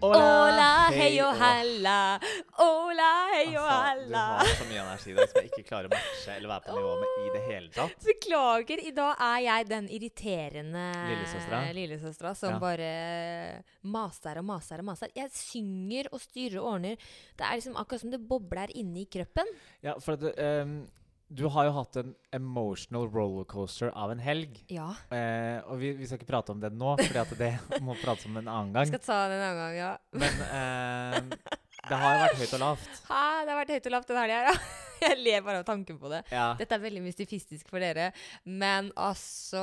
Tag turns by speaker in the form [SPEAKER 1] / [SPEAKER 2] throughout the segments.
[SPEAKER 1] Hola, hei og halla. Hola, hei og halla.
[SPEAKER 2] Altså, du har så mye energi i dag som jeg ikke klarer å matche eller være på nivå med i det hele tatt.
[SPEAKER 1] Beklager, i dag er jeg den irriterende
[SPEAKER 2] Lillesøstera?
[SPEAKER 1] lillesøstera som
[SPEAKER 2] Ja.
[SPEAKER 1] bare maser og maser og maser. Jeg synger og styrer og ordner. Det er liksom akkurat som det bobler inni kroppen.
[SPEAKER 2] Ja, for at, eh, du har jo hatt en emotional rollercoaster av en helg.
[SPEAKER 1] Ja.
[SPEAKER 2] Eh, og vi, vi skal ikke prate om det nå, for det må prates om en annen gang.
[SPEAKER 1] Skal ta den en annen gang, ja.
[SPEAKER 2] Men eh, det har jo vært høyt og lavt.
[SPEAKER 1] Hæ, det har vært høyt og lavt den helga her, ja. Jeg ler bare av tanken på det.
[SPEAKER 2] Ja.
[SPEAKER 1] Dette er veldig mystifistisk for dere, men altså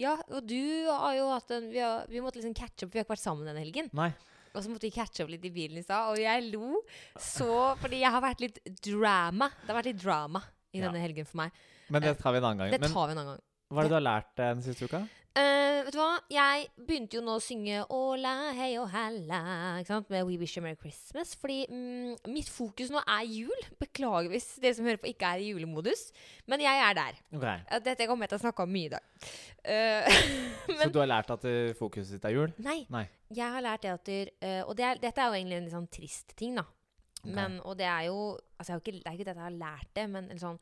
[SPEAKER 1] Ja, og du har jo hatt en Vi, har, vi måtte liksom catche opp, vi har ikke vært sammen denne helgen.
[SPEAKER 2] Nei.
[SPEAKER 1] Og så måtte vi catche opp litt i bilen i stad, og jeg lo så Fordi jeg har vært litt drama. Det har vært litt drama i
[SPEAKER 2] Ja.
[SPEAKER 1] denne helgen for meg.
[SPEAKER 2] Men det tar vi en annen gang.
[SPEAKER 1] Det
[SPEAKER 2] Men
[SPEAKER 1] tar vi en annen gang.
[SPEAKER 2] hva er det du har lært eh, den siste uka?
[SPEAKER 1] Eh, vet du hva? Jeg begynte jo nå å synge Åla, hei og hella ikke sant? med We Wish You Merry Christmas. Fordi mm, mitt fokus nå er jul. Beklager hvis dere som hører på, ikke er i julemodus. Men jeg er der.
[SPEAKER 2] Ok.
[SPEAKER 1] Ja, Dette kommer jeg til å snakke om mye i dag. Eh,
[SPEAKER 2] så du har lært at eh, fokuset ditt er jul?
[SPEAKER 1] nei,
[SPEAKER 2] Nei.
[SPEAKER 1] jeg har lært det at der, eh, Og det er, dette er jo egentlig en litt sånn trist ting, da. Men, og det er jo altså jeg har ikke, Det er ikke dette jeg har lært det, men, eller sånn,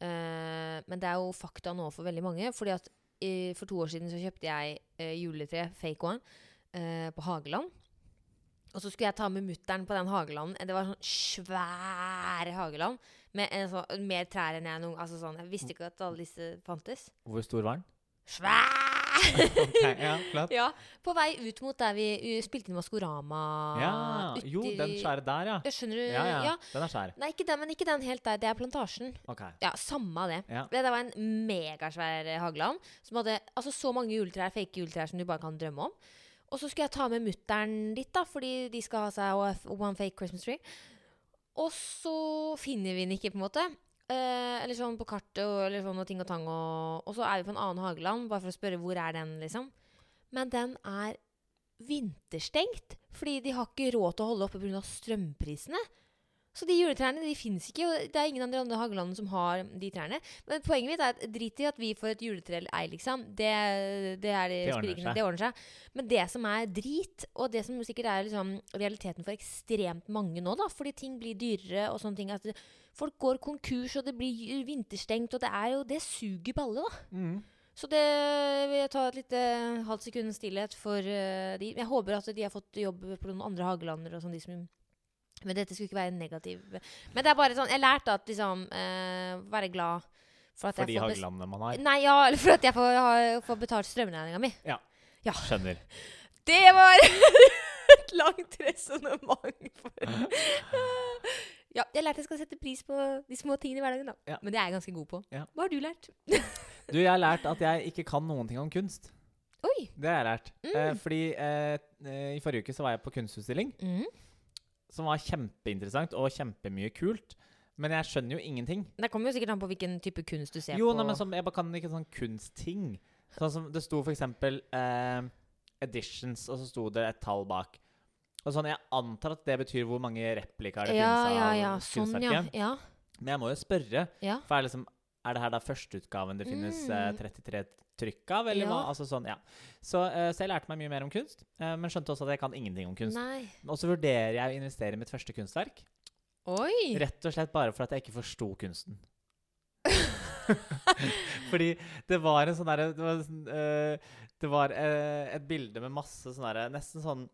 [SPEAKER 1] eh, men det er jo fakta nå for veldig mange. Fordi at eh, For to år siden så kjøpte jeg eh, juletre, fake one, eh, på Hageland. Og så skulle jeg ta med mutter'n på den Hageland. Det var sånn svær Hageland. Med en sånn, mer trær enn jeg noen altså sånn, Jeg visste ikke at alle disse fantes.
[SPEAKER 2] Hvor stor var den?
[SPEAKER 1] Svær!
[SPEAKER 2] Ok, ja, flott.
[SPEAKER 1] Ja, på vei ut mot der vi uh, spilte inn Maskorama.
[SPEAKER 2] Ja,
[SPEAKER 1] uti-
[SPEAKER 2] jo, den svære der, ja.
[SPEAKER 1] Ja, Skjønner du?
[SPEAKER 2] Ja, ja, Den er svær.
[SPEAKER 1] Nei, ikke den, men ikke den helt der. Det er Plantasjen.
[SPEAKER 2] Ok.
[SPEAKER 1] Ja, samme av det.
[SPEAKER 2] Ja.
[SPEAKER 1] Det der var en megasvær eh, hageland som hadde altså, så mange juletrær, fake juletrær som du bare kan drømme om. Og så skulle jeg ta med mutter'n dit, da, fordi de skal ha seg OF One Fake Christmas Tree. Og så finner vi den ikke, på en måte. Eh, eller sånn på kartet og, eller sånn, og ting og tang. Og, og så er vi på en annen hageland, bare for å spørre hvor er den liksom. Men den er vinterstengt, fordi de har ikke råd til å holde oppe pga. strømprisene. Så de juletrærne de fins ikke, og det er ingen andre andre hagelandene som har de trærne. Men poenget mitt er at drit i at vi får et juletre eller ei, liksom. Det, det, er, det,
[SPEAKER 2] Det ordner
[SPEAKER 1] ordner
[SPEAKER 2] seg.
[SPEAKER 1] det ordner seg. Men det som er drit, og det som sikkert er liksom, realiteten for ekstremt mange nå, da, fordi ting blir dyrere og sånne ting at det- Folk går konkurs, og det blir ju- vinterstengt, og det er jo Det suger balle, da.
[SPEAKER 2] Mm.
[SPEAKER 1] Så det vil jeg ta et lite eh, halvt sekund stillhet for eh, de. Jeg håper at de har fått jobb på noen andre hagelander og sånn, de som Men dette skulle ikke være negativ. Men det er bare sånn Jeg lærte at liksom eh, Være glad for at
[SPEAKER 2] For de
[SPEAKER 1] jeg får bes-
[SPEAKER 2] haglene man har.
[SPEAKER 1] Nei, ja, eller for at jeg får, har- får betalt strømregninga mi.
[SPEAKER 2] Skjønner.
[SPEAKER 1] Det var et langt resonnement for Ja, jeg lærte jeg skal sette pris på de små tingene i hverdagen, da.
[SPEAKER 2] Ja.
[SPEAKER 1] Men det er jeg ganske god på.
[SPEAKER 2] Ja.
[SPEAKER 1] Hva har du lært?
[SPEAKER 2] Du, jeg har lært at jeg ikke kan noen ting om kunst.
[SPEAKER 1] Oi!
[SPEAKER 2] Det har jeg lært. Eh, fordi eh, eh, i forrige uke så var jeg på kunstutstilling,
[SPEAKER 1] Mm.
[SPEAKER 2] som var kjempeinteressant og kjempemye kult. Men jeg skjønner jo ingenting.
[SPEAKER 1] Det kommer jo sikkert an på hvilken type kunst du ser
[SPEAKER 2] Jo,
[SPEAKER 1] på.
[SPEAKER 2] nei, men som, jeg bare kan ikke sånn kunstting. Sånn som det sto for eksempel eh, editions, og så sto det et tall bak. Og sånn, Jeg antar at det betyr hvor mange replikaer det
[SPEAKER 1] ja,
[SPEAKER 2] finnes
[SPEAKER 1] ja,
[SPEAKER 2] av
[SPEAKER 1] ja. Sånn, ja.
[SPEAKER 2] kunstverket.
[SPEAKER 1] ja.
[SPEAKER 2] Men jeg må jo spørre,
[SPEAKER 1] ja.
[SPEAKER 2] for er, liksom, er det her da førsteutgaven det finnes eh,
[SPEAKER 1] Mm.
[SPEAKER 2] 33 trykk av? Eller hva?
[SPEAKER 1] Ja.
[SPEAKER 2] Altså sånn, ja. så, eh, så jeg lærte meg mye mer om kunst, eh, men skjønte også at jeg kan ingenting om kunst.
[SPEAKER 1] Nei.
[SPEAKER 2] Og så vurderer jeg å investere i mitt første kunstverk,
[SPEAKER 1] Oi!
[SPEAKER 2] rett og slett bare for at jeg ikke forsto kunsten. Fordi det var en sånn derre Det var, sånn, eh, det var eh, et bilde med masse sånn derre Nesten sånn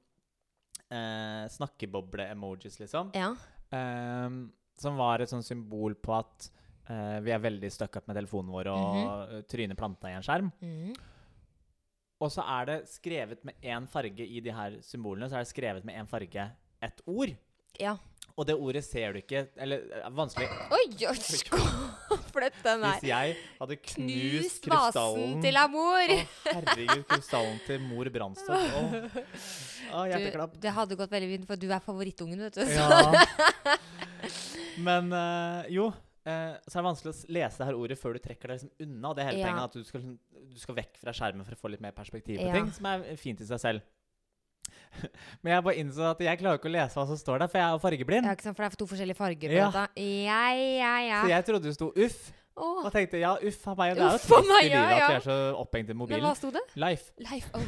[SPEAKER 2] eh, snakkeboble-emojis, liksom.
[SPEAKER 1] ja.
[SPEAKER 2] Ehm, som var et sånn symbol på at eh, vi er veldig stuck up med telefonen vår og
[SPEAKER 1] Mhm.
[SPEAKER 2] eh, trynet planta i en skjerm.
[SPEAKER 1] Mm.
[SPEAKER 2] Og så er det skrevet med én farge i de her symbolene. Så er det skrevet med én farge et ord.
[SPEAKER 1] Ja.
[SPEAKER 2] Og det ordet ser du ikke Eller eh, vanskelig
[SPEAKER 1] Oi, oi, skåflet den
[SPEAKER 2] Hvis
[SPEAKER 1] der.
[SPEAKER 2] jeg hadde knust
[SPEAKER 1] Knust vasen
[SPEAKER 2] krystallen
[SPEAKER 1] til amor.
[SPEAKER 2] Å, herregud, krystallen til mor Brandstorp. Å, Å, hjerteklapp.
[SPEAKER 1] Du, det hadde gått veldig fint, for du er favorittungen, vet du. Så-
[SPEAKER 2] Ja. Men eh, jo, eh, så er det vanskelig å s- lese det her ordet før du trekker deg liksom unna. Og det er hele
[SPEAKER 1] Ja.
[SPEAKER 2] poenget at du skal, liksom, du skal vekk fra skjermen for å få litt mer perspektiv på
[SPEAKER 1] Ja.
[SPEAKER 2] ting, som er fint i seg selv. Men jeg bare innså at jeg klarer ikke å lese hva som står der, for jeg er jo fargeblind.
[SPEAKER 1] Ja, ikke sant, for det er to forskjellige farger på
[SPEAKER 2] Ja.
[SPEAKER 1] dette. Ja, ja, ja.
[SPEAKER 2] Så jeg trodde det sto uff,
[SPEAKER 1] Åh,
[SPEAKER 2] Og tenkte ja, uff a meg. Det er jo
[SPEAKER 1] Uff a
[SPEAKER 2] trist i
[SPEAKER 1] meg,
[SPEAKER 2] livet
[SPEAKER 1] ja,
[SPEAKER 2] at vi
[SPEAKER 1] ja.
[SPEAKER 2] er så opphengt i
[SPEAKER 1] men
[SPEAKER 2] mobilen.
[SPEAKER 1] hva sto det?
[SPEAKER 2] Life.
[SPEAKER 1] Leif oh.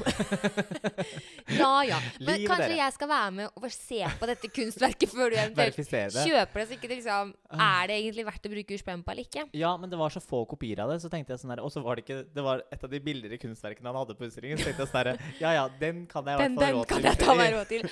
[SPEAKER 1] Ja ja. Men
[SPEAKER 2] Livet
[SPEAKER 1] kanskje
[SPEAKER 2] dere.
[SPEAKER 1] jeg skal være med og se på dette kunstverket før du eventuelt
[SPEAKER 2] Verifisere Ah. det.
[SPEAKER 1] kjøper det, så ikke det liksom Er det egentlig verdt å bruke urspenn på eller ikke?
[SPEAKER 2] Ja, men det var så få kopier av det, så tenkte jeg sånn der, og så var det ikke Det var et av de billigere kunstverkene han hadde på utstillingen. Så tenkte jeg sånn der, ja ja, den kan jeg i
[SPEAKER 1] Den,
[SPEAKER 2] hvert fall
[SPEAKER 1] den
[SPEAKER 2] råd
[SPEAKER 1] kan
[SPEAKER 2] til
[SPEAKER 1] jeg ta
[SPEAKER 2] selv i.
[SPEAKER 1] meg råd til.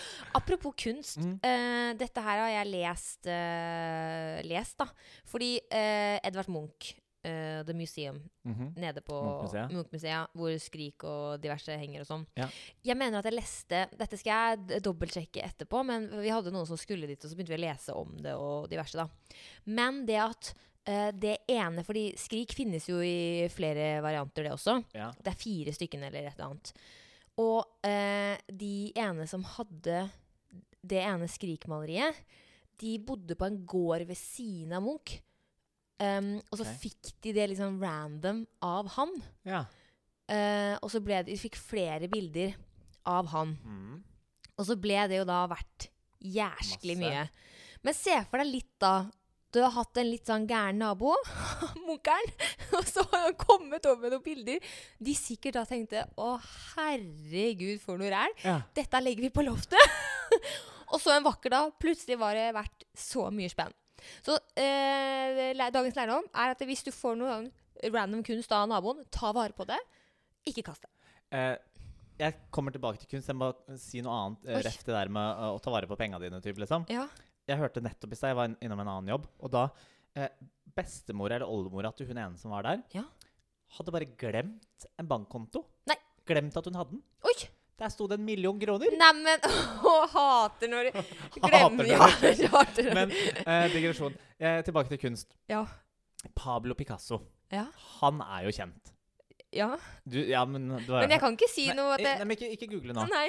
[SPEAKER 1] Apropos kunst.
[SPEAKER 2] Mm.
[SPEAKER 1] eh, dette her har jeg lest, eh, lest da. Fordi eh, Edvard Munch, eh, The Museum,
[SPEAKER 2] Mhm.
[SPEAKER 1] nede på
[SPEAKER 2] Munch-museet.
[SPEAKER 1] Munch-museet, hvor Skrik og diverse henger og sånn.
[SPEAKER 2] Ja.
[SPEAKER 1] Jeg mener at jeg leste Dette skal jeg d- dobbeltsjekke etterpå, men vi hadde noen som skulle dit, og så begynte vi å lese om det og diverse, da. Men det at eh, det ene Fordi Skrik finnes jo i flere varianter, det også.
[SPEAKER 2] Ja.
[SPEAKER 1] Det er fire stykken eller et eller annet. Og eh, de ene som hadde det ene skrikmaleriet, de bodde på en gård ved siden av Munch. Um, og så
[SPEAKER 2] Ok.
[SPEAKER 1] fikk de det liksom random av han.
[SPEAKER 2] ja.
[SPEAKER 1] Eh, og så ble det, de fikk flere bilder av han.
[SPEAKER 2] Mm.
[SPEAKER 1] Og så ble det jo da verdt jæsklig mye.
[SPEAKER 2] Masse.
[SPEAKER 1] Men se for deg litt da Du har hatt en litt sånn gæren nabo, munkeren, og så har han kommet over med noen bilder. De sikkert da tenkte 'Å, herregud, for noe ræl'.
[SPEAKER 2] ja.
[SPEAKER 1] Dette legger vi på loftet. og så en vakker dag, plutselig var det verdt så mye spenn. Så eh, læ- dagens lærdom er at hvis du får noe random kunst av naboen, ta vare på det. Ikke kast det.
[SPEAKER 2] Eh, jeg kommer tilbake til kunst. Jeg må si noe annet.
[SPEAKER 1] Oi.
[SPEAKER 2] Uh, ref det der med eh, å ta vare på penga dine. Typ, liksom.
[SPEAKER 1] Ja.
[SPEAKER 2] Jeg hørte nettopp i stad, jeg var inn- innom en annen jobb, og da eh, Bestemora eller oldemora til hun ene som var der,
[SPEAKER 1] Ja.
[SPEAKER 2] hadde bare glemt en bankkonto.
[SPEAKER 1] Nei.
[SPEAKER 2] Glemt at hun hadde den.
[SPEAKER 1] Oi!
[SPEAKER 2] Der sto det en million kroner.
[SPEAKER 1] Neimen, å, hater når du
[SPEAKER 2] Hater når
[SPEAKER 1] glemmer ja,
[SPEAKER 2] du-
[SPEAKER 1] hater når
[SPEAKER 2] Men
[SPEAKER 1] du-
[SPEAKER 2] eh, digresjon. Eh, tilbake til kunst.
[SPEAKER 1] Ja.
[SPEAKER 2] Pablo Picasso.
[SPEAKER 1] Ja.
[SPEAKER 2] Han er jo kjent.
[SPEAKER 1] ja.
[SPEAKER 2] Du, ja, men du har
[SPEAKER 1] Men jeg kan ikke si
[SPEAKER 2] Nei,
[SPEAKER 1] noe at
[SPEAKER 2] eh,
[SPEAKER 1] det
[SPEAKER 2] Nei, men ikke, ikke google nå.
[SPEAKER 1] Nei.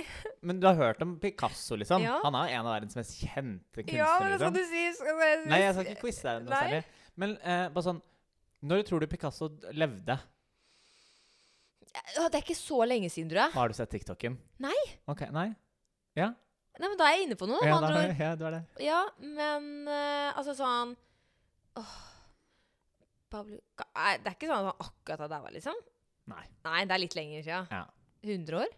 [SPEAKER 2] Men du har hørt om Picasso, liksom?
[SPEAKER 1] Ja.
[SPEAKER 2] Han er jo en av verdens mest kjente kunstnere.
[SPEAKER 1] Ja, men hva
[SPEAKER 2] liksom.
[SPEAKER 1] skal du si? Skal jeg-
[SPEAKER 2] Nei, jeg skal ikke quize deg noe
[SPEAKER 1] Nei.
[SPEAKER 2] særlig. Men eh, bare sånn Når tror du Picasso d- levde?
[SPEAKER 1] Ja, Det er ikke så lenge siden, tror jeg.
[SPEAKER 2] Har du sett TikToken?
[SPEAKER 1] Nei.
[SPEAKER 2] Ok, nei?
[SPEAKER 1] Nei, men Da er jeg inne på noe.
[SPEAKER 2] Ja,
[SPEAKER 1] med andre
[SPEAKER 2] da-
[SPEAKER 1] ord.
[SPEAKER 2] ja, du er det.
[SPEAKER 1] Ja, men eh, altså sånn åh, Pablo Ka- Nei, det er ikke sånn at han akkurat har daua, liksom?
[SPEAKER 2] Nei.
[SPEAKER 1] Nei, det er litt lenger siden.
[SPEAKER 2] Ja.
[SPEAKER 1] 100 år?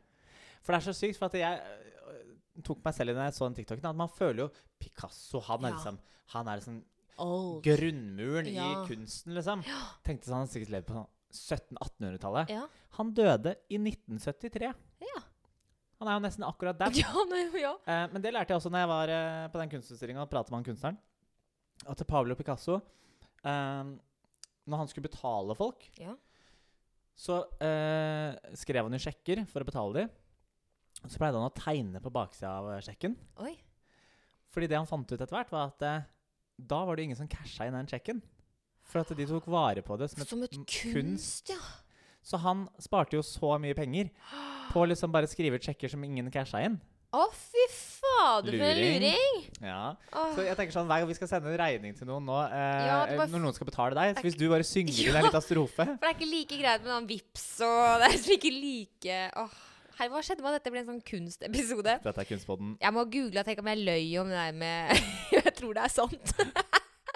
[SPEAKER 2] For det er så sykt, for at jeg øh, tok meg selv i når jeg så den TikToken, at man føler jo Picasso, han er
[SPEAKER 1] Ja.
[SPEAKER 2] liksom Han er liksom
[SPEAKER 1] Old.
[SPEAKER 2] grunnmuren
[SPEAKER 1] Ja.
[SPEAKER 2] i kunsten, liksom. Tenkte sånn, han sikkert levde på sånn 1700-1800-tallet.
[SPEAKER 1] Ja.
[SPEAKER 2] Han døde i 1973.
[SPEAKER 1] Ja.
[SPEAKER 2] Han er jo nesten akkurat der.
[SPEAKER 1] Ja, nei, ja.
[SPEAKER 2] Eh, men det lærte jeg også når jeg var eh, på den kunstutstillinga og pratet med han kunstneren. At Pablo Picasso eh, Når han skulle betale folk,
[SPEAKER 1] Ja.
[SPEAKER 2] så eh, skrev han jo sjekker for å betale dem. Så pleide han å tegne på baksida av eh, sjekken.
[SPEAKER 1] Oi.
[SPEAKER 2] Fordi det han fant ut etter hvert, var at eh, da var det jo ingen som casha inn den sjekken. For at de tok vare på det. Som et,
[SPEAKER 1] Som et
[SPEAKER 2] m-
[SPEAKER 1] kunst, ja.
[SPEAKER 2] så han sparte jo så mye penger på å liksom bare skrive ut sjekker som ingen casha inn.
[SPEAKER 1] Å, fy fader, for en
[SPEAKER 2] Luring.
[SPEAKER 1] luring!
[SPEAKER 2] Ja.
[SPEAKER 1] Åh.
[SPEAKER 2] Så jeg tenker sånn, Hver gang vi skal sende en regning til noen nå, eh,
[SPEAKER 1] Ja, det bare-
[SPEAKER 2] når noen skal betale deg,
[SPEAKER 1] Det
[SPEAKER 2] så
[SPEAKER 1] er
[SPEAKER 2] hvis du bare synger inn
[SPEAKER 1] Ja.
[SPEAKER 2] en liten strofe
[SPEAKER 1] For det er ikke like greit med sånn vips og Det er liksom ikke like Åh. Hei, hva skjedde med at dette ble en sånn kunstepisode?
[SPEAKER 2] Dette er Kunstpodden.
[SPEAKER 1] Jeg må google og tenke om jeg løy om det der med Jeg tror det er sant.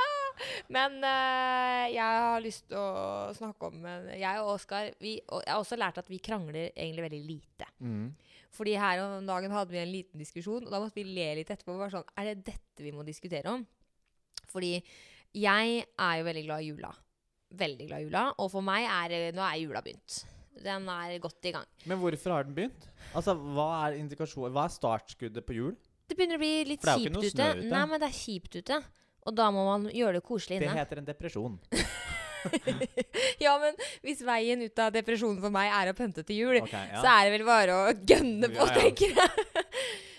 [SPEAKER 1] Ah, Men eh, jeg har lyst til å snakke om eh, Jeg og Oskar vi, og Jeg har også lært at vi krangler egentlig veldig lite.
[SPEAKER 2] Mm.
[SPEAKER 1] Fordi her om dagen hadde vi en liten diskusjon, og da måtte vi le litt etterpå. og Bare sånn, er det dette vi må diskutere om? Fordi jeg er jo veldig glad i jula. Veldig glad i jula. Og for meg er det- Nå er jula begynt. Den er godt i gang.
[SPEAKER 2] Men hvorfor har den begynt? Altså, Hva er indikasjon, hva er startskuddet på jul?
[SPEAKER 1] Det begynner å bli litt
[SPEAKER 2] For det er jo ikke
[SPEAKER 1] kjipt
[SPEAKER 2] noe
[SPEAKER 1] ute.
[SPEAKER 2] snø ute.
[SPEAKER 1] Nei, men det er kjipt ute. Og da må man gjøre det koselig
[SPEAKER 2] Det
[SPEAKER 1] inne.
[SPEAKER 2] heter en depresjon.
[SPEAKER 1] Ja, men hvis veien ut av depresjonen for meg er å pønte til jul,
[SPEAKER 2] Ok, ja.
[SPEAKER 1] så er det vel bare å gønne på,
[SPEAKER 2] Ja, ja.
[SPEAKER 1] tenker jeg.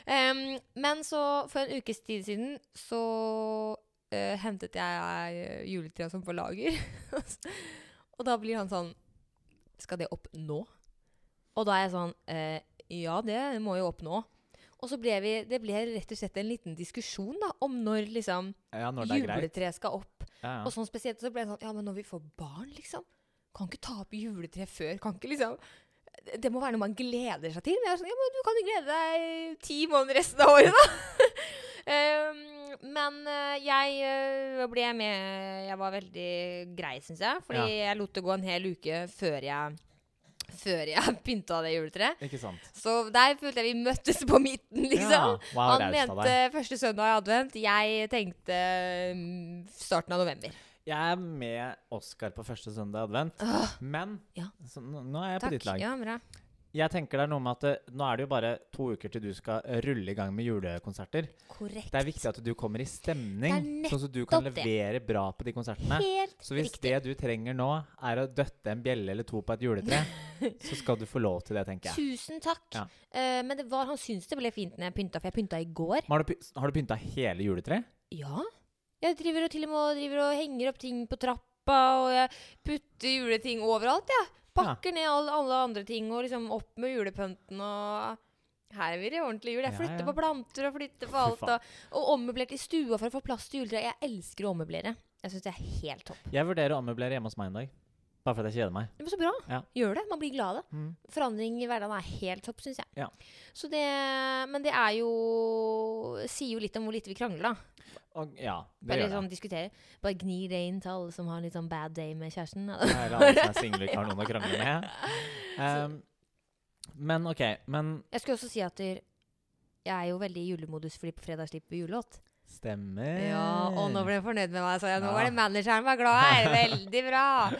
[SPEAKER 1] um, men så, for en ukes tid siden, så eh, hentet jeg eh, juletrea som på lager. og da blir han sånn Skal det opp nå? Og da er jeg sånn eh, Ja, det må jo opp nå. Og så ble vi, det ble rett og slett en liten diskusjon da, om når liksom
[SPEAKER 2] ja, når det er greit.
[SPEAKER 1] juletreet skal opp.
[SPEAKER 2] Ja,
[SPEAKER 1] Og
[SPEAKER 2] ja.
[SPEAKER 1] sånn spesielt så ble det sånn Ja, men når vi får barn, liksom Kan ikke ta opp juletre før Kan ikke liksom Det må være noe man gleder seg til Men jeg er sånn Ja, men du kan jo glede deg ti måneder resten av året da Em, men eh, jeg eh, ble med Jeg var veldig grei, syns jeg. Fordi jeg lot det gå en hel uke før jeg, før jeg pynta det juletreet.
[SPEAKER 2] Ikke sant?
[SPEAKER 1] Så der følte jeg vi møttes på midten, liksom.
[SPEAKER 2] Ja, wow,
[SPEAKER 1] Han mente første søndag i advent. Jeg tenkte mm, starten av november.
[SPEAKER 2] Jeg er med Oskar på første søndag i advent, men
[SPEAKER 1] Ja.
[SPEAKER 2] så, nå nå er jeg på
[SPEAKER 1] Takk.
[SPEAKER 2] ditt lag.
[SPEAKER 1] Ja, bra.
[SPEAKER 2] Jeg tenker det er noe med at eh, Nå er det jo bare to uker til du skal rulle i gang med julekonserter.
[SPEAKER 1] Korrekt.
[SPEAKER 2] Det er viktig at du kommer i stemning,
[SPEAKER 1] Det er
[SPEAKER 2] sånn at du kan
[SPEAKER 1] nettopp det.
[SPEAKER 2] levere bra på de konsertene.
[SPEAKER 1] Helt
[SPEAKER 2] Så hvis
[SPEAKER 1] riktig.
[SPEAKER 2] det du trenger nå, er å døtte en bjelle eller to på et juletre, så skal du få lov til det, tenker jeg.
[SPEAKER 1] Tusen takk.
[SPEAKER 2] Ja.
[SPEAKER 1] Eh, men det var, han syntes det ble fint når jeg pynta, for jeg pynta i går.
[SPEAKER 2] Men Har du, py- har du pynta hele juletreet?
[SPEAKER 1] Ja. Jeg driver og til og med driver og henger opp ting på trappa, og jeg putter juleting overalt, jeg. Pakker ned alle, alle andre ting og liksom opp med julepynten og her vil jeg ordentlig jul. Jeg
[SPEAKER 2] Ja,
[SPEAKER 1] flytter
[SPEAKER 2] ja.
[SPEAKER 1] på planter og flytter på
[SPEAKER 2] Fy
[SPEAKER 1] alt.
[SPEAKER 2] faen.
[SPEAKER 1] Og, og ommøblert i stua for å få plass til juletreet. Jeg elsker å ommøblere. Jeg syns det er helt topp.
[SPEAKER 2] Jeg vurderer å ommøblere hjemme hos meg en dag. Bare fordi jeg kjeder meg.
[SPEAKER 1] Det var så bra.
[SPEAKER 2] Ja.
[SPEAKER 1] Gjør det. Man blir glad av det.
[SPEAKER 2] Mm.
[SPEAKER 1] Forandring i hverdagen er helt topp, syns jeg.
[SPEAKER 2] Ja.
[SPEAKER 1] Så det, men det er jo Sier jo litt om hvor lite vi krangler, da.
[SPEAKER 2] Og, ja, det
[SPEAKER 1] Bare
[SPEAKER 2] gjør
[SPEAKER 1] litt
[SPEAKER 2] jeg.
[SPEAKER 1] sånn diskuterer. Bare gni det inn til alle som har en litt sånn bad day med kjæresten.
[SPEAKER 2] Det er alle som er single, ikke har noen å krangle med. Ehm, men OK. Men
[SPEAKER 1] Jeg skulle også si at der- jeg er jo veldig i julemodus fordi på fredag slipper vi julelåt.
[SPEAKER 2] stemmer
[SPEAKER 1] Ja, og nå ble jeg fornøyd med meg, sa jeg. Nå
[SPEAKER 2] Eh. Ja.
[SPEAKER 1] var det manageren var glad her. Veldig bra.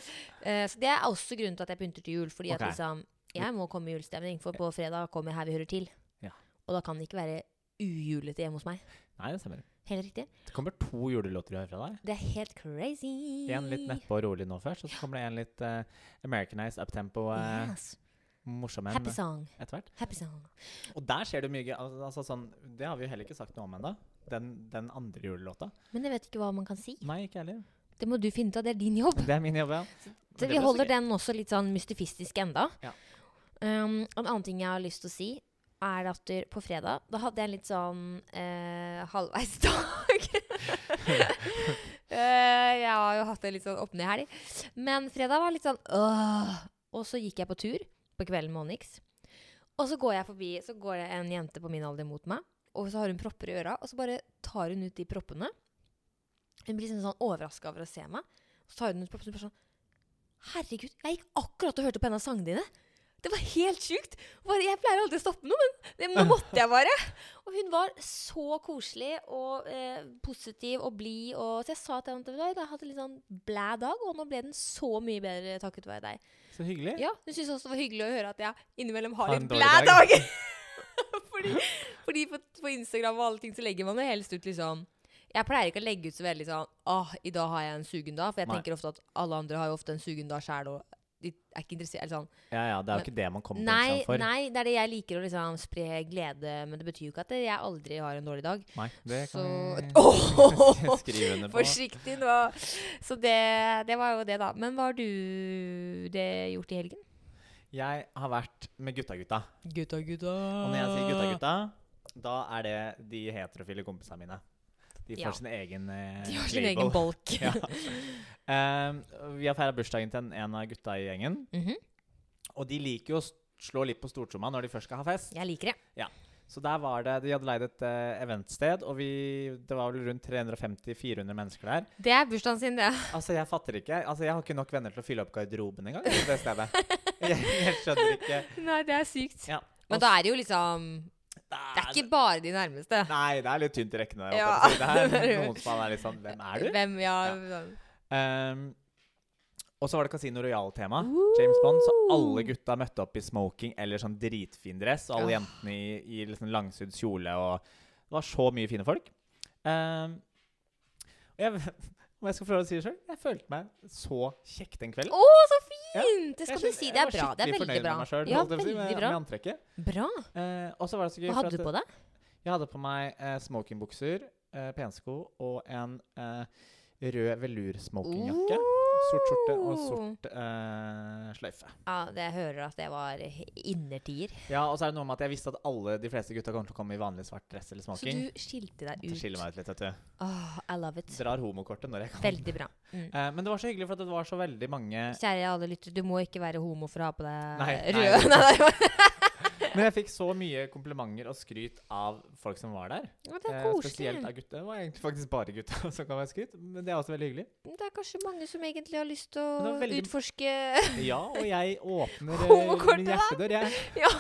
[SPEAKER 1] Eh, så det er også grunnen til at jeg pynter til jul. Fordi
[SPEAKER 2] Ok.
[SPEAKER 1] at liksom, jeg må komme i julestemning, for på fredag kommer Her vi hører til.
[SPEAKER 2] Ja.
[SPEAKER 1] Og da kan det ikke være ujulete hjemme hos meg.
[SPEAKER 2] Nei, det stemmer.
[SPEAKER 1] Helt riktig.
[SPEAKER 2] Det kommer to julelåter i år fra deg.
[SPEAKER 1] Det er helt crazy.
[SPEAKER 2] En litt nedpå og rolig nå først, og så kommer det en litt eh, americanized, uptempo, uh,
[SPEAKER 1] Yes.
[SPEAKER 2] morsom en
[SPEAKER 1] Happy song.
[SPEAKER 2] etter hvert.
[SPEAKER 1] Happy song.
[SPEAKER 2] Og der skjer det mye gøy. Al- Altså, sånn, det har vi jo heller ikke sagt noe om ennå. Den, den andre julelåta.
[SPEAKER 1] Men jeg vet ikke hva man kan si.
[SPEAKER 2] Nei, ikke heller.
[SPEAKER 1] Det må du finne ut av. Det er din jobb.
[SPEAKER 2] Det er min jobb, ja.
[SPEAKER 1] Så
[SPEAKER 2] Men
[SPEAKER 1] vi
[SPEAKER 2] det ble
[SPEAKER 1] holder
[SPEAKER 2] gøy.
[SPEAKER 1] den også litt sånn mystifistisk enda.
[SPEAKER 2] Ja.
[SPEAKER 1] Um, en annen ting jeg har lyst til å si, er at der- på fredag da hadde jeg en litt sånn eh, halvveis dag. Eh, jeg har jo hatt en litt sånn opp ned helg. Men fredag var litt sånn åh. Og så gikk jeg på tur på kvelden med Onyx. Og så går jeg forbi, så går det en jente på min alder mot meg, og så har hun propper i øra, og så bare tar hun ut de proppene. Hun blir liksom sånn overraska over å se meg. Så tar hun ut proppene og bare sånn Herregud, jeg gikk akkurat og hørte på en av sangene dine. Det var helt sjukt. Bare, jeg pleier aldri å stoppe noe, men det- nå måtte jeg bare. Og hun var så koselig og eh, positiv og blid. og- Så jeg sa til henne at «Vet du hva, jeg hadde litt sånn blæ dag, og nå ble den så mye bedre takket være deg.
[SPEAKER 2] Så hyggelig.
[SPEAKER 1] Ja, Hun syntes også det var hyggelig å høre at jeg innimellom har
[SPEAKER 2] Ha en
[SPEAKER 1] litt
[SPEAKER 2] dårlig
[SPEAKER 1] blæ
[SPEAKER 2] dag.
[SPEAKER 1] dag. fordi fordi på, på Instagram og alle ting så legger man jo helst ut liksom Jeg pleier ikke å legge ut så veldig sånn Åh, i dag har jeg en sugen dag. For jeg
[SPEAKER 2] Nei.
[SPEAKER 1] tenker ofte at alle andre har jo ofte en sugen dag sjæl, og de er ikke interessert eller sånn.
[SPEAKER 2] Ja, ja, det er jo ikke det man kommer på
[SPEAKER 1] Nei,
[SPEAKER 2] Instagram for.
[SPEAKER 1] nei, det er det jeg liker å liksom spre glede, men det betyr jo ikke at jeg aldri har en dårlig dag.
[SPEAKER 2] Nei, det kan vi
[SPEAKER 1] Åh!
[SPEAKER 2] skrive under på.
[SPEAKER 1] Forsiktig nå. Så det, det var jo det, da. Men hva har du det gjort i helgen?
[SPEAKER 2] Jeg har vært med gutta-gutta.
[SPEAKER 1] Gutta, gutta.
[SPEAKER 2] Og når jeg sier gutta-gutta, da er det de heterofile kompisene mine. De får
[SPEAKER 1] Ja.
[SPEAKER 2] sin egen eh,
[SPEAKER 1] De har sin
[SPEAKER 2] label.
[SPEAKER 1] egen bolk.
[SPEAKER 2] ja. Ehm, vi har feira bursdagen til en, en av gutta i gjengen.
[SPEAKER 1] Mhm.
[SPEAKER 2] Og de liker jo å s- slå litt på stortromma når de først skal ha fest.
[SPEAKER 1] Jeg liker det.
[SPEAKER 2] Så der var det, De hadde leid et eh, eventsted, og vi, det var vel rundt 350-400 mennesker der.
[SPEAKER 1] Det er bursdagen sin, det.
[SPEAKER 2] Altså, Jeg fatter ikke. altså, Jeg har ikke nok venner til å fylle opp garderoben engang. på det stedet. Jeg, jeg skjønner ikke.
[SPEAKER 1] Nei, det er sykt.
[SPEAKER 2] Ja.
[SPEAKER 1] Men da er det jo liksom Det er ikke bare de nærmeste.
[SPEAKER 2] Nei, det er litt tynt i rekkene. der,
[SPEAKER 1] Ja.
[SPEAKER 2] holdt jeg på å si. Det er noen som er litt sånn Hvem er du?
[SPEAKER 1] Hvem, ja.
[SPEAKER 2] Ehm, og så var det Casino Royal-tema. James Bond. Så alle gutta møtte opp i smoking eller sånn dritfin dress. Og alle
[SPEAKER 1] Åh.
[SPEAKER 2] jentene i, i liksom langsydd kjole. Og det var så mye fine folk. Ehm, og jeg, om jeg skal få lov til å si det sjøl, jeg følte meg så kjekk den kvelden.
[SPEAKER 1] Å, så fint! Det skal
[SPEAKER 2] Jeg
[SPEAKER 1] du
[SPEAKER 2] skjønte-
[SPEAKER 1] si.
[SPEAKER 2] jeg
[SPEAKER 1] Det er
[SPEAKER 2] var
[SPEAKER 1] bra. Det er
[SPEAKER 2] skikkelig
[SPEAKER 1] veldig
[SPEAKER 2] fornøyd
[SPEAKER 1] bra.
[SPEAKER 2] Med meg selv,
[SPEAKER 1] Ja,
[SPEAKER 2] holdt jeg på å si, med,
[SPEAKER 1] veldig bra.
[SPEAKER 2] Med antrekket.
[SPEAKER 1] Bra.
[SPEAKER 2] Eh, og så var det så gøy
[SPEAKER 1] Hva
[SPEAKER 2] for
[SPEAKER 1] hadde
[SPEAKER 2] at-
[SPEAKER 1] du på deg?
[SPEAKER 2] jeg hadde på meg eh, smokingbukser, eh, pensko og en eh, rød velursmokingjakke. Sort skjorte og sort eh, sløyfe.
[SPEAKER 1] Ja, det jeg hører at det var innertier.
[SPEAKER 2] Ja, Og så er det noe med at jeg visste at alle de fleste gutta kommer til å komme i vanlig svart dress eller
[SPEAKER 1] Så
[SPEAKER 2] smoking.
[SPEAKER 1] du skilte deg
[SPEAKER 2] Det skiller
[SPEAKER 1] ut.
[SPEAKER 2] meg ut litt, vet du.
[SPEAKER 1] Åh, I love it.
[SPEAKER 2] Drar homokortet når jeg kan.
[SPEAKER 1] Veldig bra. Mm.
[SPEAKER 2] Eh, men det var så hyggelig, for at det var så veldig mange
[SPEAKER 1] Kjære alle lyttere, du må ikke være homo for å ha på deg
[SPEAKER 2] Nei, nei.
[SPEAKER 1] rød Nei, nei.
[SPEAKER 2] Men jeg fikk så mye komplimenter og skryt av folk som var der.
[SPEAKER 1] Ja, det er
[SPEAKER 2] Eh, Spesielt
[SPEAKER 1] koselig.
[SPEAKER 2] av gutta. Det var egentlig faktisk bare gutta som kan være skryt, men det er også veldig hyggelig.
[SPEAKER 1] Det er kanskje mange som egentlig har lyst til
[SPEAKER 2] Men
[SPEAKER 1] å
[SPEAKER 2] det var veldig-
[SPEAKER 1] utforske
[SPEAKER 2] Ja, og jeg åpner eh,
[SPEAKER 1] Homokortet,
[SPEAKER 2] min
[SPEAKER 1] da?
[SPEAKER 2] hjertedør, jeg.
[SPEAKER 1] Ja.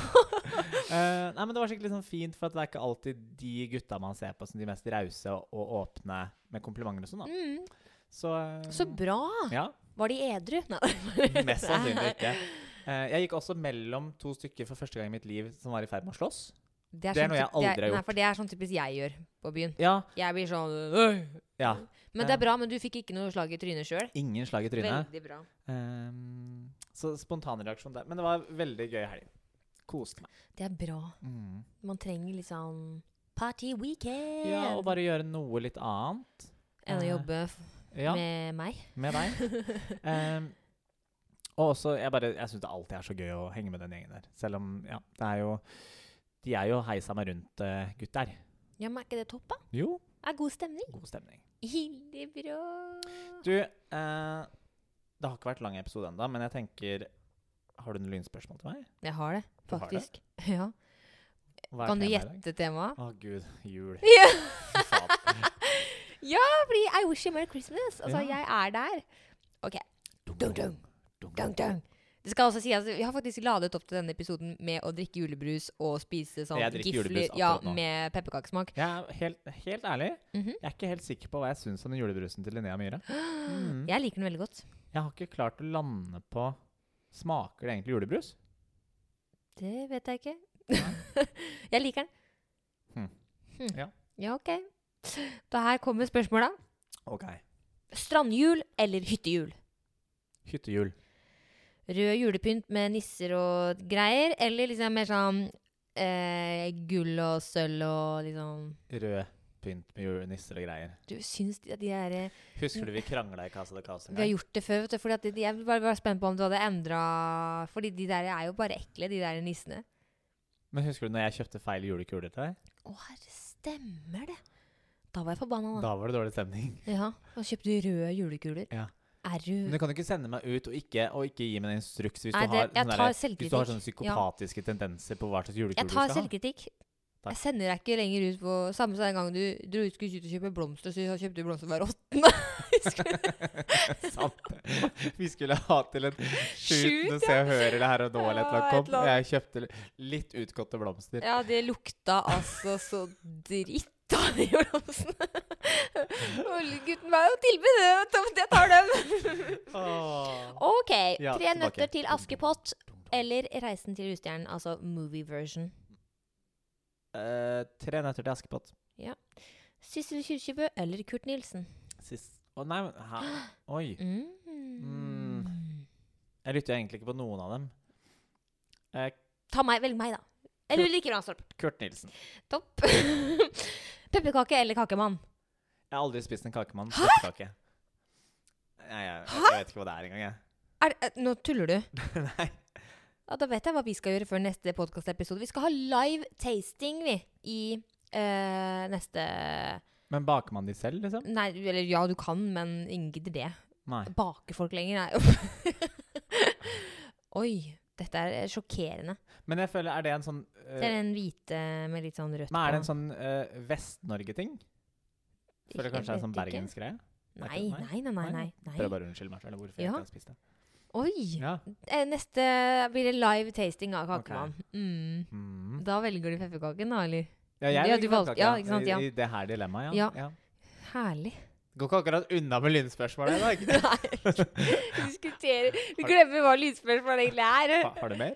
[SPEAKER 2] Eh, nei, men Det var skikkelig sånn fint, for at det er ikke alltid de gutta man ser på som de mest rause og åpne med komplimenter og sånn. da.
[SPEAKER 1] mm,
[SPEAKER 2] Så, eh,
[SPEAKER 1] Så bra!
[SPEAKER 2] ja,
[SPEAKER 1] Var de edru? Nei.
[SPEAKER 2] mest sannsynlig ikke. Eh, jeg gikk også mellom to stykker for første gang i mitt liv som var i ferd med å slåss.
[SPEAKER 1] Det
[SPEAKER 2] Det er
[SPEAKER 1] sånn
[SPEAKER 2] noe jeg
[SPEAKER 1] typ- det er-
[SPEAKER 2] aldri har
[SPEAKER 1] Nei, for det er sånn typisk jeg gjør på byen.
[SPEAKER 2] Ja,
[SPEAKER 1] Jeg blir sånn «Øy!»
[SPEAKER 2] ja.
[SPEAKER 1] Men det er bra, men du fikk ikke noe slag i trynet sjøl.
[SPEAKER 2] Ingen slag i Eh. trynet.
[SPEAKER 1] Veldig bra.
[SPEAKER 2] Um, så spontanreaksjon der. Men det var veldig gøy helg. Koste meg. Mm.
[SPEAKER 1] Det er bra. Man trenger litt sånn party weekend
[SPEAKER 2] Ja, og bare gjøre noe litt annet.
[SPEAKER 1] enn å
[SPEAKER 2] eh,
[SPEAKER 1] jobbe f
[SPEAKER 2] Ja, med,
[SPEAKER 1] med meg.
[SPEAKER 2] deg. um, og også, jeg bare, jeg syns det alltid er så gøy å henge med den gjengen der. Selv om, ja, det er jo De er jo heisa meg rundt eh, gutter.
[SPEAKER 1] Ja, men er ikke det topp, da?
[SPEAKER 2] Jo,
[SPEAKER 1] Er god stemning.
[SPEAKER 2] god stemning.
[SPEAKER 1] Veldig bra.
[SPEAKER 2] Du, eh, det har ikke vært lang episode ennå, men jeg tenker Har du noen lynspørsmål til meg?
[SPEAKER 1] Jeg har det,
[SPEAKER 2] Du har det?
[SPEAKER 1] faktisk. Ja.
[SPEAKER 2] Hva er
[SPEAKER 1] Kan
[SPEAKER 2] temaet
[SPEAKER 1] du
[SPEAKER 2] i dag?
[SPEAKER 1] gjette temaet?
[SPEAKER 2] Å gud, jul.
[SPEAKER 1] Ja.
[SPEAKER 2] Fy faen.
[SPEAKER 1] Fordi I wish you merry Christmas. Altså,
[SPEAKER 2] Ja.
[SPEAKER 1] jeg er der. Dun, dun. Dang, dang. Det skal også si, altså, Vi har faktisk ladet opp til denne episoden med å drikke julebrus og spise sånn
[SPEAKER 2] Jeg drikker
[SPEAKER 1] gifler
[SPEAKER 2] julebrus
[SPEAKER 1] ja,
[SPEAKER 2] akkurat nå.
[SPEAKER 1] med pepperkakesmak.
[SPEAKER 2] Jeg er helt, helt ærlig,
[SPEAKER 1] Mhm.
[SPEAKER 2] jeg er ikke helt sikker på hva jeg syns om den julebrusen til Linnea Myhre. Mm.
[SPEAKER 1] Jeg liker den veldig godt.
[SPEAKER 2] Jeg har ikke klart å lande på Smaker det egentlig julebrus?
[SPEAKER 1] Det vet jeg ikke. jeg liker den.
[SPEAKER 2] Hmm.
[SPEAKER 1] Hmm.
[SPEAKER 2] Ja.
[SPEAKER 1] ja, ok. Da her kommer spørsmåla.
[SPEAKER 2] Ok.
[SPEAKER 1] Strandjul eller hyttejul?
[SPEAKER 2] Hyttejul.
[SPEAKER 1] Rød julepynt med nisser og greier, eller liksom mer sånn eh, gull og sølv og liksom
[SPEAKER 2] Rød pynt med julenisser og greier.
[SPEAKER 1] Du syns de, de er eh,
[SPEAKER 2] Husker du vi krangla i Casa de Casa? en
[SPEAKER 1] Vi har
[SPEAKER 2] gang?
[SPEAKER 1] gjort det før, vet du. Fordi at de, jeg var bare spent på om du hadde endra Fordi de der er jo bare ekle, de der nissene.
[SPEAKER 2] Men husker du når jeg kjøpte feil julekuler til deg?
[SPEAKER 1] Å, herre, stemmer det! Da var jeg forbanna, da.
[SPEAKER 2] Da var det dårlig stemning.
[SPEAKER 1] Ja, Og kjøpte røde julekuler.
[SPEAKER 2] Ja.
[SPEAKER 1] Er du
[SPEAKER 2] Men du kan jo ikke sende meg ut og ikke, og ikke gi meg en instruks hvis,
[SPEAKER 1] Mm. Nei,
[SPEAKER 2] du, har sånn
[SPEAKER 1] det- jeg
[SPEAKER 2] sånne
[SPEAKER 1] tar
[SPEAKER 2] der- hvis du har
[SPEAKER 1] selvkritikk.
[SPEAKER 2] sånne psykopatiske tendenser på hva slags julekule
[SPEAKER 1] Jeg
[SPEAKER 2] du
[SPEAKER 1] tar
[SPEAKER 2] skal ha.
[SPEAKER 1] selvkritikk.
[SPEAKER 2] Takk.
[SPEAKER 1] Jeg sender deg ikke lenger ut på Samme som den gangen du dro ut skulle ut og kjøpe blomster, så kjøpte du blomster hver åttende.
[SPEAKER 2] Sant. Vi skulle ha til en
[SPEAKER 1] Shoot,
[SPEAKER 2] shoot Se og Hør eller Her og Nå eller et eller annet.
[SPEAKER 1] Ja, et eller
[SPEAKER 2] kom. Jeg kjøpte litt utgåtte blomster.
[SPEAKER 1] Ja, det lukta altså så dritt av de blomstene. Og gutten var jo tilbud, vet du, jeg tar dem.
[SPEAKER 2] Åh.
[SPEAKER 1] OK.
[SPEAKER 2] Ja,
[SPEAKER 1] tre
[SPEAKER 2] tilbake.
[SPEAKER 1] nøtter til Askepott eller Reisen til Rustjernen, altså movie version.
[SPEAKER 2] Eh, tre nøtter til Askepott.
[SPEAKER 1] Sissel Kyrkjebø eller Kurt Nilsen?
[SPEAKER 2] Sist Å nei, men hæ? Oi.
[SPEAKER 1] Mm.
[SPEAKER 2] Jeg lytter jo egentlig ikke på noen av dem. Eh,
[SPEAKER 1] Ta meg, Velg meg, da. Eller du liker Ranstorp.
[SPEAKER 2] Kurt Nilsen.
[SPEAKER 1] Topp. Pepperkake eller kakemann?
[SPEAKER 2] Jeg har aldri spist en kakemann. Pepperkake. Nei, jeg, jeg vet ikke hva det er engang, jeg.
[SPEAKER 1] Er, eh, nå tuller du.
[SPEAKER 2] Nei.
[SPEAKER 1] Ja, da vet jeg hva vi skal gjøre før neste podkastepisode. Vi skal ha live tasting, vi. I eh, neste
[SPEAKER 2] Men baker man de selv, liksom?
[SPEAKER 1] Nei, eller ja, du kan, men ingen gidder det.
[SPEAKER 2] Nei.
[SPEAKER 1] Baker folk lenger? Nei. Oi. Dette er eh, sjokkerende.
[SPEAKER 2] Men jeg føler, er det en sånn eh,
[SPEAKER 1] Det er den hvite med litt sånn rødt
[SPEAKER 2] Men er det en
[SPEAKER 1] på.
[SPEAKER 2] sånn eh, Vest-Norge-ting? Føler
[SPEAKER 1] Jeg
[SPEAKER 2] det kanskje det er en sånn
[SPEAKER 1] vet ikke.
[SPEAKER 2] bergensgreie? Er
[SPEAKER 1] Nei,
[SPEAKER 2] ikke det?
[SPEAKER 1] nei, nei. nei, nei,
[SPEAKER 2] Prøv
[SPEAKER 1] nei.
[SPEAKER 2] bare å unnskylde meg selv hvorfor
[SPEAKER 1] Ja.
[SPEAKER 2] jeg ikke har spist det.
[SPEAKER 1] Oi!
[SPEAKER 2] Ja.
[SPEAKER 1] Eh, Neste blir det live tasting av
[SPEAKER 2] Ok.
[SPEAKER 1] kakemann. Mm.
[SPEAKER 2] Mm.
[SPEAKER 1] Da velger du pepperkaken, da, eller?
[SPEAKER 2] ja, jeg
[SPEAKER 1] Ja,
[SPEAKER 2] liker
[SPEAKER 1] du valgte-
[SPEAKER 2] pepperkaker,
[SPEAKER 1] ja, ikke sant, ja.
[SPEAKER 2] I, I det her dilemmaet, ja.
[SPEAKER 1] Ja. Herlig.
[SPEAKER 2] Går ikke akkurat unna med lynspørsmålet i dag.
[SPEAKER 1] Nei, vi diskuterer Vi glemmer hva lydspørsmål egentlig er.
[SPEAKER 2] Ha, har du mer?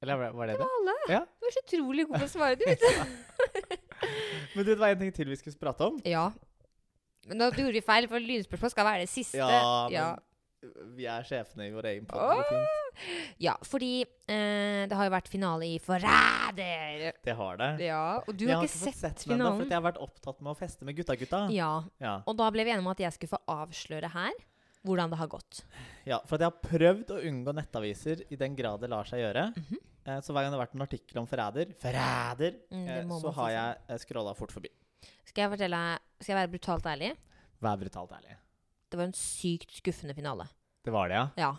[SPEAKER 2] Eller var- var det
[SPEAKER 1] Det
[SPEAKER 2] det?
[SPEAKER 1] var alle.
[SPEAKER 2] Ja.
[SPEAKER 1] Du er så utrolig god på å svare, du, vet du.
[SPEAKER 2] Men du, det var en ting til vi skulle prate om.
[SPEAKER 1] Ja. Men da gjorde vi feil, for lydspørsmål skal være det siste. ja.
[SPEAKER 2] men vi er sjefene i vår egen podd,
[SPEAKER 1] Åh!
[SPEAKER 2] det er fint.
[SPEAKER 1] Ja, fordi eh, det har jo vært finale i Forræder!
[SPEAKER 2] Det har det.
[SPEAKER 1] Ja, og du
[SPEAKER 2] jeg
[SPEAKER 1] har
[SPEAKER 2] har
[SPEAKER 1] ikke
[SPEAKER 2] fått
[SPEAKER 1] sett
[SPEAKER 2] sett den ennå, for
[SPEAKER 1] finalen.
[SPEAKER 2] at jeg har vært opptatt med å feste med gutta-gutta.
[SPEAKER 1] Ja,
[SPEAKER 2] Ja.
[SPEAKER 1] og da ble vi enige om at jeg skulle få avsløre her hvordan det har gått.
[SPEAKER 2] Ja, for at jeg har prøvd å unngå nettaviser i den grad det lar seg gjøre.
[SPEAKER 1] Mhm.
[SPEAKER 2] Eh, Så hver gang det har vært en artikkel om forræder, forræder,
[SPEAKER 1] Mm, det
[SPEAKER 2] eh,
[SPEAKER 1] må
[SPEAKER 2] så
[SPEAKER 1] man
[SPEAKER 2] har
[SPEAKER 1] si
[SPEAKER 2] jeg eh, scrolla fort forbi.
[SPEAKER 1] Skal jeg, fortelle, skal jeg være brutalt ærlig?
[SPEAKER 2] Vær brutalt ærlig.
[SPEAKER 1] Det var en sykt skuffende finale.
[SPEAKER 2] Det var det, ja.
[SPEAKER 1] Ja.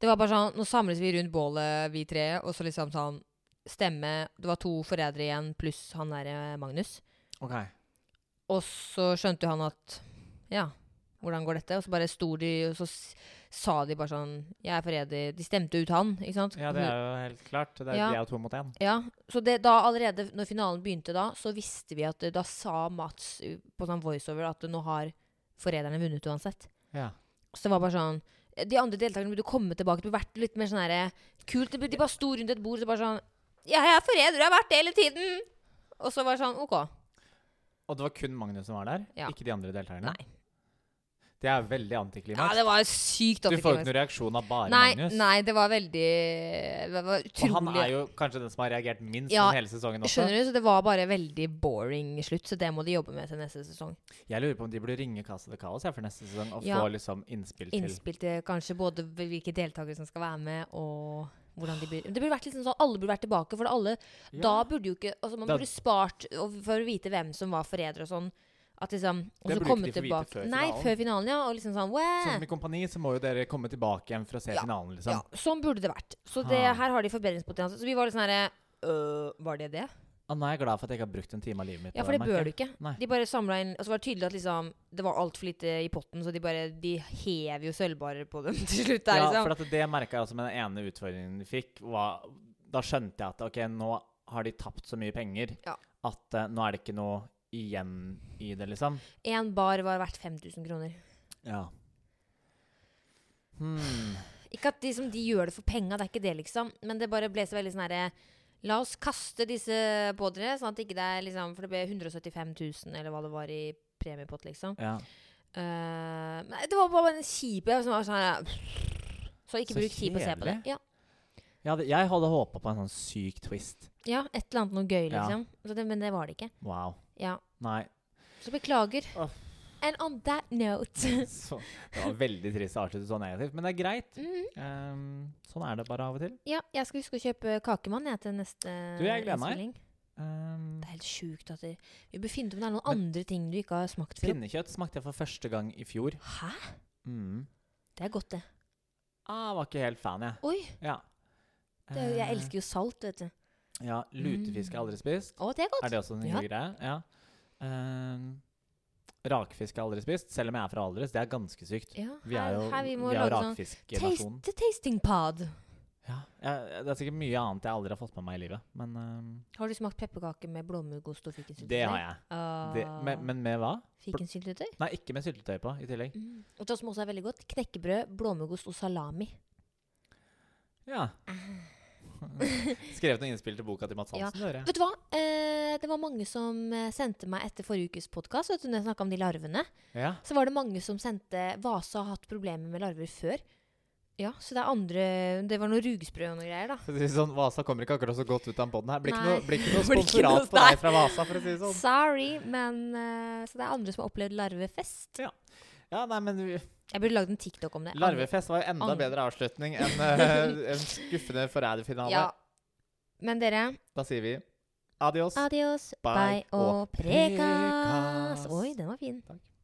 [SPEAKER 1] Det var bare sånn Nå samles vi rundt bålet, vi tre, og så liksom sånn stemme Det var to forrædere igjen pluss han derre Magnus.
[SPEAKER 2] Ok.
[SPEAKER 1] Og så skjønte jo han at Ja, hvordan går dette? Og så bare sto de, og så s- sa de bare sånn Jeg er forræder. De stemte ut han, ikke sant?
[SPEAKER 2] Ja, det er jo helt klart. Det er,
[SPEAKER 1] Mm. Ja.
[SPEAKER 2] De er jo to mot én.
[SPEAKER 1] Ja, så det, da allerede når finalen begynte da, så visste vi at eh, da sa Mats eh, på sånn voiceover at nå har forræderne vunnet uansett.
[SPEAKER 2] Ja.
[SPEAKER 1] Så det var bare sånn eh, De andre deltakerne burde komme tilbake. Det burde vært litt mer sånn herre kult. De, de bare sto rundt et bord og så bare sånn Ja, jeg er forræder, jeg har vært det hele tiden! Og så var det sånn OK.
[SPEAKER 2] Og det var kun Magnus som var der?
[SPEAKER 1] Ja.
[SPEAKER 2] Ikke de andre deltakerne?
[SPEAKER 1] Nei.
[SPEAKER 2] Det er veldig
[SPEAKER 1] Ja,
[SPEAKER 2] antiklimaks.
[SPEAKER 1] det var sykt
[SPEAKER 2] du får jo
[SPEAKER 1] antiklimaks.
[SPEAKER 2] ikke noen reaksjon av bare
[SPEAKER 1] Nei,
[SPEAKER 2] Magnus.
[SPEAKER 1] nei, det var veldig Det var utrolig
[SPEAKER 2] Og han er jo kanskje den som har reagert minst
[SPEAKER 1] Ja,
[SPEAKER 2] ja, hele sesongen også.
[SPEAKER 1] Skjønner du? Så det var bare veldig boring slutt, så det må de jobbe med til neste sesong.
[SPEAKER 2] Jeg lurer på om de burde ringe Casa de Kaos her for neste sesong og
[SPEAKER 1] Ja.
[SPEAKER 2] få liksom innspill til
[SPEAKER 1] Innspill til kanskje både hvilke deltakere som skal være med, og hvordan de blir Det burde vært litt sånn sånn alle burde vært tilbake, for alle
[SPEAKER 2] Ja.
[SPEAKER 1] Da burde jo ikke altså Man
[SPEAKER 2] Da-
[SPEAKER 1] burde spart og- for å vite hvem som var forræder og sånn. At liksom Og
[SPEAKER 2] Det
[SPEAKER 1] så
[SPEAKER 2] burde
[SPEAKER 1] komme
[SPEAKER 2] ikke de få
[SPEAKER 1] tilbake
[SPEAKER 2] vite før
[SPEAKER 1] Nei,
[SPEAKER 2] finalen.
[SPEAKER 1] før finalen, ja. Og liksom
[SPEAKER 2] Sånn
[SPEAKER 1] sånn wow.
[SPEAKER 2] som i Kompani, så må jo dere komme tilbake igjen for å se
[SPEAKER 1] Ja.
[SPEAKER 2] finalen, liksom.
[SPEAKER 1] Ja, sånn burde det vært. Så det,
[SPEAKER 2] Ha.
[SPEAKER 1] her har de forbedringspotensial. Så vi var litt sånn herre øh, Var det det?
[SPEAKER 2] Ah, nå er jeg glad for at jeg ikke har brukt en time av livet mitt
[SPEAKER 1] Ja,
[SPEAKER 2] på
[SPEAKER 1] for det
[SPEAKER 2] merker
[SPEAKER 1] bør
[SPEAKER 2] jeg.
[SPEAKER 1] du ikke.
[SPEAKER 2] Nei.
[SPEAKER 1] De bare samlet inn Og så var det tydelig at liksom det var altfor lite i potten, så de bare De hever jo sølvbarer på dem til slutt. Der,
[SPEAKER 2] ja,
[SPEAKER 1] liksom.
[SPEAKER 2] for at det merka jeg også med den ene utfordringen vi fikk. Var, da skjønte jeg at ok, nå har de tapt så mye penger
[SPEAKER 1] Ja.
[SPEAKER 2] at eh, nå er det ikke noe igjen i det, liksom.
[SPEAKER 1] Én bar var verdt 5000 kroner.
[SPEAKER 2] Ja. Hmm.
[SPEAKER 1] Ikke at de, som de gjør det for penga, det er ikke det, liksom. Men det bare ble så veldig sånn herre La oss kaste disse på dere, sånn at ikke det er liksom For det ble 175 000, eller hva det var i premiepott, liksom.
[SPEAKER 2] Ja.
[SPEAKER 1] Eh, men det var bare en kjip jeg var sånn her, Så ikke
[SPEAKER 2] Så
[SPEAKER 1] bruk tid på å se på det.
[SPEAKER 2] kjedelig.
[SPEAKER 1] Ja.
[SPEAKER 2] Jeg hadde, jeg hadde håpa på en sånn syk twist.
[SPEAKER 1] ja, et eller annet noe gøy,
[SPEAKER 2] Ja.
[SPEAKER 1] liksom. Så det, men det var det ikke.
[SPEAKER 2] Wow.
[SPEAKER 1] Ja.
[SPEAKER 2] Nei.
[SPEAKER 1] Så beklager.
[SPEAKER 2] Uff.
[SPEAKER 1] And on that note
[SPEAKER 2] Så, det var veldig trist å avslutte så negativt, men det er greit.
[SPEAKER 1] Mhm.
[SPEAKER 2] Ehm, sånn er det bare av og til.
[SPEAKER 1] Ja, jeg skal huske å kjøpe kakemann jeg, til neste
[SPEAKER 2] Du, jeg gleder meg.
[SPEAKER 1] innspilling.
[SPEAKER 2] Ehm,
[SPEAKER 1] Det er helt sjukt at det, vi bør finne ut om det er noen
[SPEAKER 2] Men-
[SPEAKER 1] andre ting du ikke har smakt før.
[SPEAKER 2] pinnekjøtt smakte jeg for første gang i fjor.
[SPEAKER 1] Hæ?
[SPEAKER 2] Mm.
[SPEAKER 1] Det er godt, det.
[SPEAKER 2] Ah, var ikke helt fan, jeg.
[SPEAKER 1] Oi!
[SPEAKER 2] Ja.
[SPEAKER 1] Det, er jo- jeg
[SPEAKER 2] Eh,
[SPEAKER 1] elsker jo salt, vet du.
[SPEAKER 2] Ehm, Ja, lutefisk har jeg aldri spist.
[SPEAKER 1] Å, det er godt.
[SPEAKER 2] Er det også en
[SPEAKER 1] Ja.
[SPEAKER 2] hyggelig greie? Ja. Ehm, rakfisk har jeg aldri spist, selv om jeg er fra Aldres. Det er ganske sykt.
[SPEAKER 1] Ja,
[SPEAKER 2] Vi er jo,
[SPEAKER 1] her vi må
[SPEAKER 2] vi er jo
[SPEAKER 1] lage sånn
[SPEAKER 2] rakfisknasjon.
[SPEAKER 1] taste, tasting pod.
[SPEAKER 2] Ja, jeg- det er sikkert mye annet jeg aldri har fått med meg i livet, men ehm,
[SPEAKER 1] Har du smakt pepperkake med blåmuggost og Ah, fikensyltetøy?
[SPEAKER 2] det har jeg. Det, men, men med hva?
[SPEAKER 1] Fikensyltetøy?
[SPEAKER 2] Nei, ikke med syltetøy på i tillegg.
[SPEAKER 1] Mm. Og det som også er veldig godt, knekkebrød, blåmuggost og salami.
[SPEAKER 2] Ja. Skrevet noen innspill til boka til Mads
[SPEAKER 1] Ah. Ja.
[SPEAKER 2] Hansen, hører jeg.
[SPEAKER 1] Vet du hva? Eh, det var mange som eh, sendte meg etter forrige ukes podkast, når jeg snakka om de larvene.
[SPEAKER 2] Ja.
[SPEAKER 1] Så var det mange som sendte Vasa har hatt problemer med larver før. Ja, så det er andre Det var noe rugsprø og noe greier, da.
[SPEAKER 2] For å si det sånn, Vasa kommer ikke akkurat så godt ut av den poden her. Blir ikke
[SPEAKER 1] Nei.
[SPEAKER 2] noe, blir ikke noe
[SPEAKER 1] Blir ikke noe-
[SPEAKER 2] sponsorat på deg fra Vasa, for å si det sånn.
[SPEAKER 1] Sorry, men eh, Så det er andre som har opplevd larvefest.
[SPEAKER 2] Ja, nei, men vi-
[SPEAKER 1] Jeg burde lagd en TikTok om det.
[SPEAKER 2] Larvefest var jo enda
[SPEAKER 1] Ang-
[SPEAKER 2] bedre avslutning enn eh, en skuffende forræderfinale.
[SPEAKER 1] Ja. Men dere,
[SPEAKER 2] Da sier vi adios.
[SPEAKER 1] adios,
[SPEAKER 2] Bye
[SPEAKER 1] bye og
[SPEAKER 2] og prekas.
[SPEAKER 1] prekas. Oi, den var fin.
[SPEAKER 2] Takk.